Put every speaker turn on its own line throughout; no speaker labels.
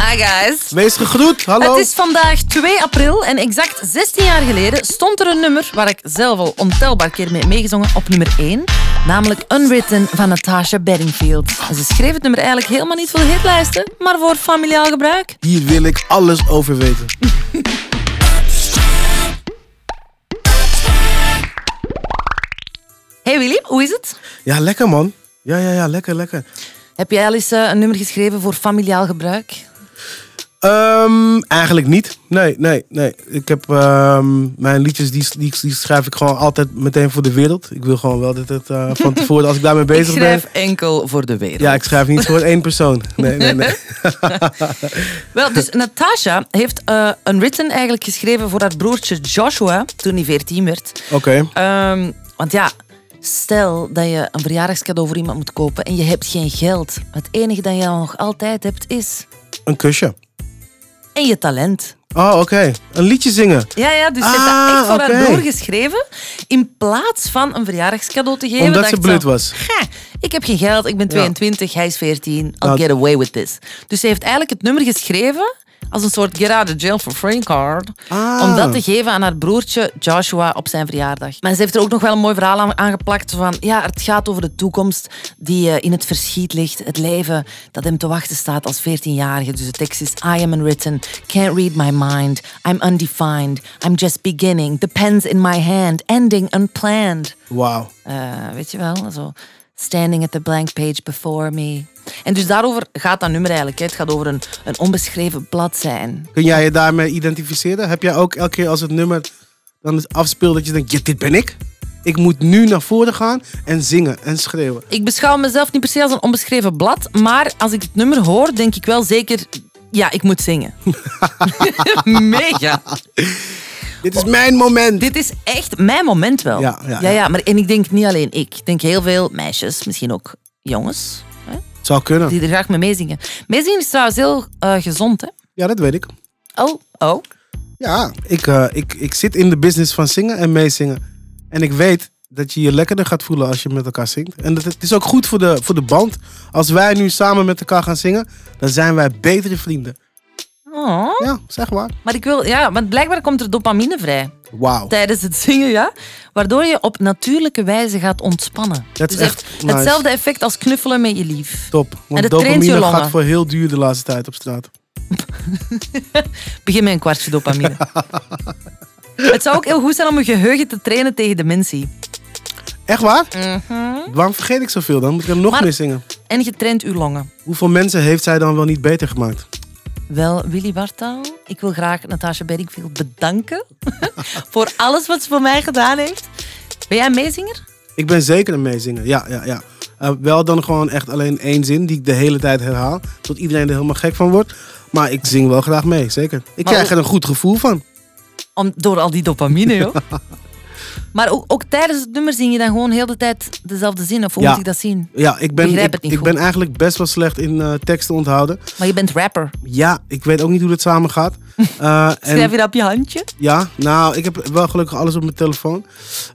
guys.
Wees gegroet, hallo.
Het is vandaag 2 april en exact 16 jaar geleden stond er een nummer waar ik zelf al ontelbaar keer mee heb meegezongen op nummer 1. Namelijk Unwritten van Natasha Bedingfield. En ze schreef het nummer eigenlijk helemaal niet voor de hitlijsten, maar voor familiaal gebruik.
Hier wil ik alles over weten.
Hey Willy, hoe is het?
Ja, lekker man. Ja, ja, ja, lekker, lekker.
Heb jij al eens eh, een nummer geschreven voor familiaal gebruik?
Ehm, eigenlijk niet. Nee, nee, nee. Ik heb ehm, mijn liedjes, die, die, die schrijf ik gewoon altijd meteen voor de wereld. Ik wil gewoon wel dat het eh, van tevoren, als ik daarmee
Ik
bezig
schrijf
ben.
enkel voor de wereld.
Ja, ik schrijf niet voor één persoon. Nee, nee, nee.
Wel, dus Natasha heeft eh Unwritten eigenlijk geschreven voor haar broertje Joshua toen hij 14 werd.
Oké.
Ehm, want ja, stel dat je een verjaardagscadeau voor iemand moet kopen en je hebt geen geld. Het enige dat je nog altijd hebt is.
Een kusje.
En je talent.
Oh, oké. Een liedje zingen.
Ja, ja, dus ze heeft dat
Ah,
echt voor haar
oké.
broer geschreven. In plaats van een verjaardagscadeau te geven.
Omdat
dacht
ze blut
ze,
was.
"Ga, ik heb geen geld, ik ben 22, hij is 14. I'll
Nou,
get away with this. Dus ze heeft eigenlijk het nummer geschreven als een soort get out of jail for free card.
Ah.
Om dat te geven aan haar broertje Joshua op zijn verjaardag. Maar ze heeft er ook nog wel een mooi verhaal aan aangeplakt van... Ja, het gaat over de toekomst die eh, in het verschiet ligt. Het leven dat hem te wachten staat als 14-jarige. Dus de tekst is... I am unwritten, can't read my mind. I'm undefined, I'm just beginning. The pen's in my hand, ending unplanned.
Wauw.
Eh, weet je wel, zo standing at the blank page before me. En dus daarover gaat dat nummer eigenlijk. hè. Het gaat over een, een onbeschreven bladzijn.
Kun jij je daarmee identificeren? Heb jij ook elke keer als het nummer dan afspeelt dat je denkt, ja, dit ben ik? Ik moet nu naar voren gaan en zingen en schreeuwen.
Ik beschouw mezelf niet per se als een onbeschreven blad, maar als ik het nummer hoor, denk ik wel zeker, ja, ik moet zingen. Mega.
Dit is mijn moment.
Dit is echt mijn moment wel.
Ja, ja,
ja,
ja.
maar, en ik denk niet alleen ik. Ik denk heel veel meisjes, misschien ook jongens, hè,
Zou kunnen.
die er graag mee meezingen. Meezingen is trouwens heel eh, gezond, hè?
Ja, dat weet ik.
Oh, oh.
Ja, ik, eh, ik, ik zit in de business van zingen en meezingen. En ik weet dat je je lekkerder gaat voelen als je met elkaar zingt. En dat, het is ook goed voor de, voor de band. Als wij nu samen met elkaar gaan zingen, dan zijn wij betere vrienden.
oh.
Ja, zeg maar.
Maar ik wil, ja, want blijkbaar komt er dopamine vrij
Wauw.
tijdens het zingen, ja. Waardoor je op natuurlijke wijze gaat ontspannen.
Dat is
Dus
echt
het-
nice.
hetzelfde effect als knuffelen met je lief.
Top. Want
dat traint je
dopamine
longen.
gaat voor heel duur de laatste tijd op straat.
Begin met een kwartje dopamine. het zou ook heel goed zijn om je geheugen te trainen tegen dementie.
Echt waar? Waarom vergeet ik zoveel dan? Moet ik er nog
Mhm. Maar-
meer zingen?
En je traint uw longen.
Hoeveel mensen heeft zij dan wel niet beter gemaakt?
Wel, Willy Bartaal, ik wil graag Natasha Bedingfield bedanken voor alles wat ze voor mij gedaan heeft. Ben jij een meezinger?
Ik ben zeker een meezinger. Ja, ja, ja. Eh, wel dan gewoon echt alleen één zin die ik de hele tijd herhaal. Tot iedereen er helemaal gek van wordt. Maar ik zing wel graag mee, zeker. Ik
Maar
krijg
hoe-
er een goed gevoel van.
Om, door al die dopamine, joh. Maar ook, ook tijdens het nummer zing je dan gewoon heel de tijd dezelfde zin? Of hoe
Ja.
moet ik dat zien?
Ja, ik ben,
Begrijp
ik,
het niet
ik
goed.
ben eigenlijk best wel slecht in eh, teksten onthouden.
Maar je bent rapper.
Ja, ik weet ook niet hoe dat samen gaat. Eh, en-
Schrijf je dat op je handje?
ja, nou, ik heb wel gelukkig alles op mijn telefoon.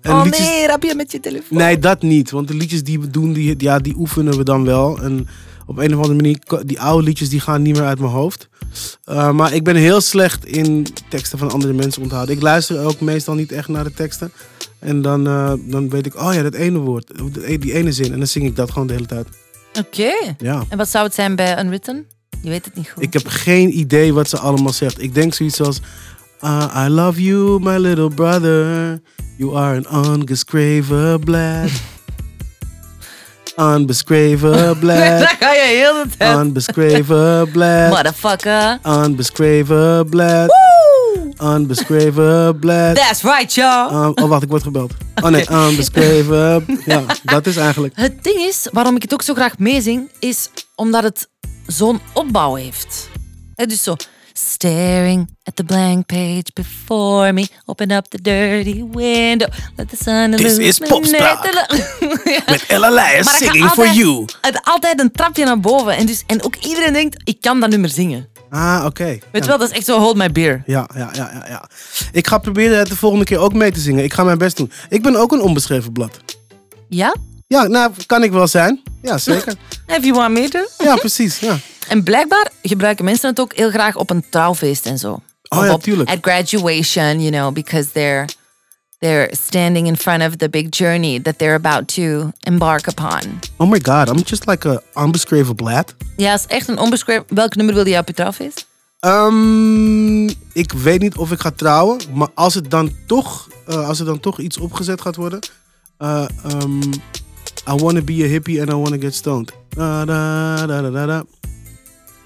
En
oh
liedjes-
nee, rap je met je telefoon?
Nee, dat niet. Want de liedjes die we doen, die, ja, die oefenen we dan wel. En op een of andere manier, ko- die oude liedjes die gaan niet meer uit mijn hoofd. Uh, maar ik ben heel slecht in teksten van andere mensen onthouden. Ik luister ook meestal niet echt naar de teksten. En dan, eh, dan weet ik, oh ja, dat ene woord, of dat e- die ene zin. En dan zing ik dat gewoon de hele tijd.
Oké.
Ja.
En wat zou het zijn bij Unwritten? Je weet het niet goed.
Ik heb geen idee wat ze allemaal zegt. Ik denk zoiets als, ah, I love you, my little brother. You are an ongeschreven blad. Onbeschreven blad.
Daar ga je heel de tijd.
Onbeschreven blad. eh.
Motherfucker.
Onbeschreven blad.
Woe!
Onbeschreven blad.
That's right, y'all.
Um, oh, wacht, ik word gebeld. Oh nee, onbeschreven. Ja, dat is eigenlijk.
Het ding is, waarom ik het ook zo graag meezing, is omdat het zo'n opbouw heeft. Hè, dus zo. Staring at the blank page before me. Open up the dirty window. Let the sun
This is popspraak. Met Ella Leijers
Maar dat gaat altijd- Het altijd een trapje naar boven. En, dus, en ook iedereen denkt, ik kan dat nummer zingen.
Ah, oké.
Weet je wel, dat is echt zo hold my beer.
Ja, ja, ja, ja, ja. Ik ga proberen het de volgende keer ook mee te zingen. Ik ga mijn best doen. Ik ben ook een onbeschreven blad.
Ja?
Ja, nou, kan ik wel zijn. Ja, zeker.
If you want me to.
Ja, precies. Ja.
En blijkbaar gebruiken mensen het ook heel graag op een trouwfeest en zo.
Ah, ja,
Of op-
tuurlijk.
At graduation, you know, because they're they're standing in front of the big journey that they're about to embark upon.
Oh my god, I'm just like a unbescrivable lad.
Ja, is echt een onbeschreven. Welk nummer wilde je op je trouwfeest?
Ehm, ik weet niet of ik ga trouwen, maar als, het dan toch, eh, als er dan toch iets opgezet gaat worden. eh, ehm, I wanna be a hippie and I wanna get stoned. Da, da, da, da, da, da.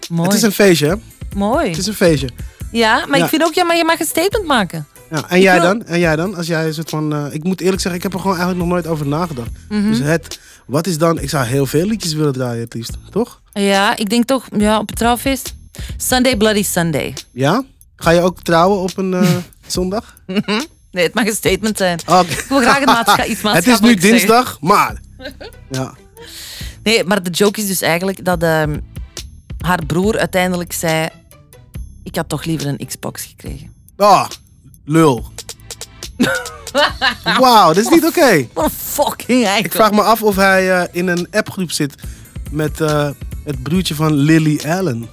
Mooi.
Het is een feestje, hè?
Mooi.
Het is een feestje.
Ja, maar
Ja.
ik vind ook, ja, maar je mag een statement maken.
Ja, en jij
wil-
dan? En jij dan? Als jij soort van. eh, ik moet eerlijk zeggen, ik heb er gewoon eigenlijk nog nooit over nagedacht.
Mhm.
Dus het, wat is dan. Ik zou heel veel liedjes willen draaien, het liefst, toch?
Ja, ik denk toch, ja, op het trouwfeest. Sunday Bloody Sunday.
Ja? Ga je ook trouwen op een eh, zondag? Ah,
Nee, het mag een statement zijn.
Oké.
Ik wil graag het maatschap, iets
Het is
maatschappelijks
nu
zeggen.
dinsdag, maar. Ja.
Nee, maar de joke is dus eigenlijk dat ehm, haar broer uiteindelijk zei... Ik had toch liever een Xbox gekregen.
Ah, lul. Wauw, dit is niet oké.
Wat een fucking
Ik
eikel.
vraag me af of hij eh, in een appgroep zit met eh, het broertje van Lily Allen.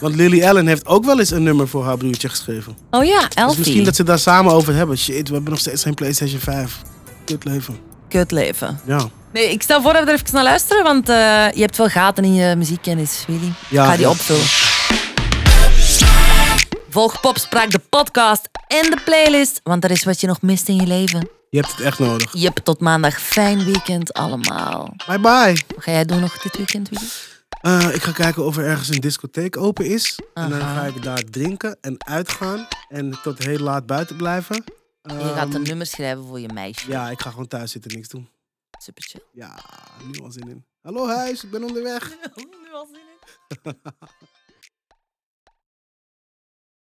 Want Lily Allen heeft ook wel eens een nummer voor haar broertje geschreven.
Oh ja,
Dus
Elfie.
misschien dat ze daar samen over hebben. Shit, we hebben nog steeds geen PlayStation 5. Kut leven.
Kutleven.
Ja.
Nee, ik stel voor dat we er even naar luisteren, want eh, je hebt wel gaten in je muziekkennis, Willy.
Ja. dus-
ik ga die opvullen. Volg Popspraak, de podcast en de playlist, want dat is wat je nog mist in je leven.
Je hebt het echt nodig.
Jep, tot maandag. Fijn weekend allemaal.
Bye bye.
Wat ga jij doen nog dit weekend, Willy?
Eh, ik ga kijken of er ergens een discotheek open is. En dan ga ik daar drinken en uitgaan. En tot heel laat buiten blijven.
je gaat een
Ehm,
nummer schrijven voor je meisje.
Ja, ik ga gewoon thuis zitten en niks doen.
Super chill.
Ja, nu al zin in. Hallo huis, ik ben onderweg.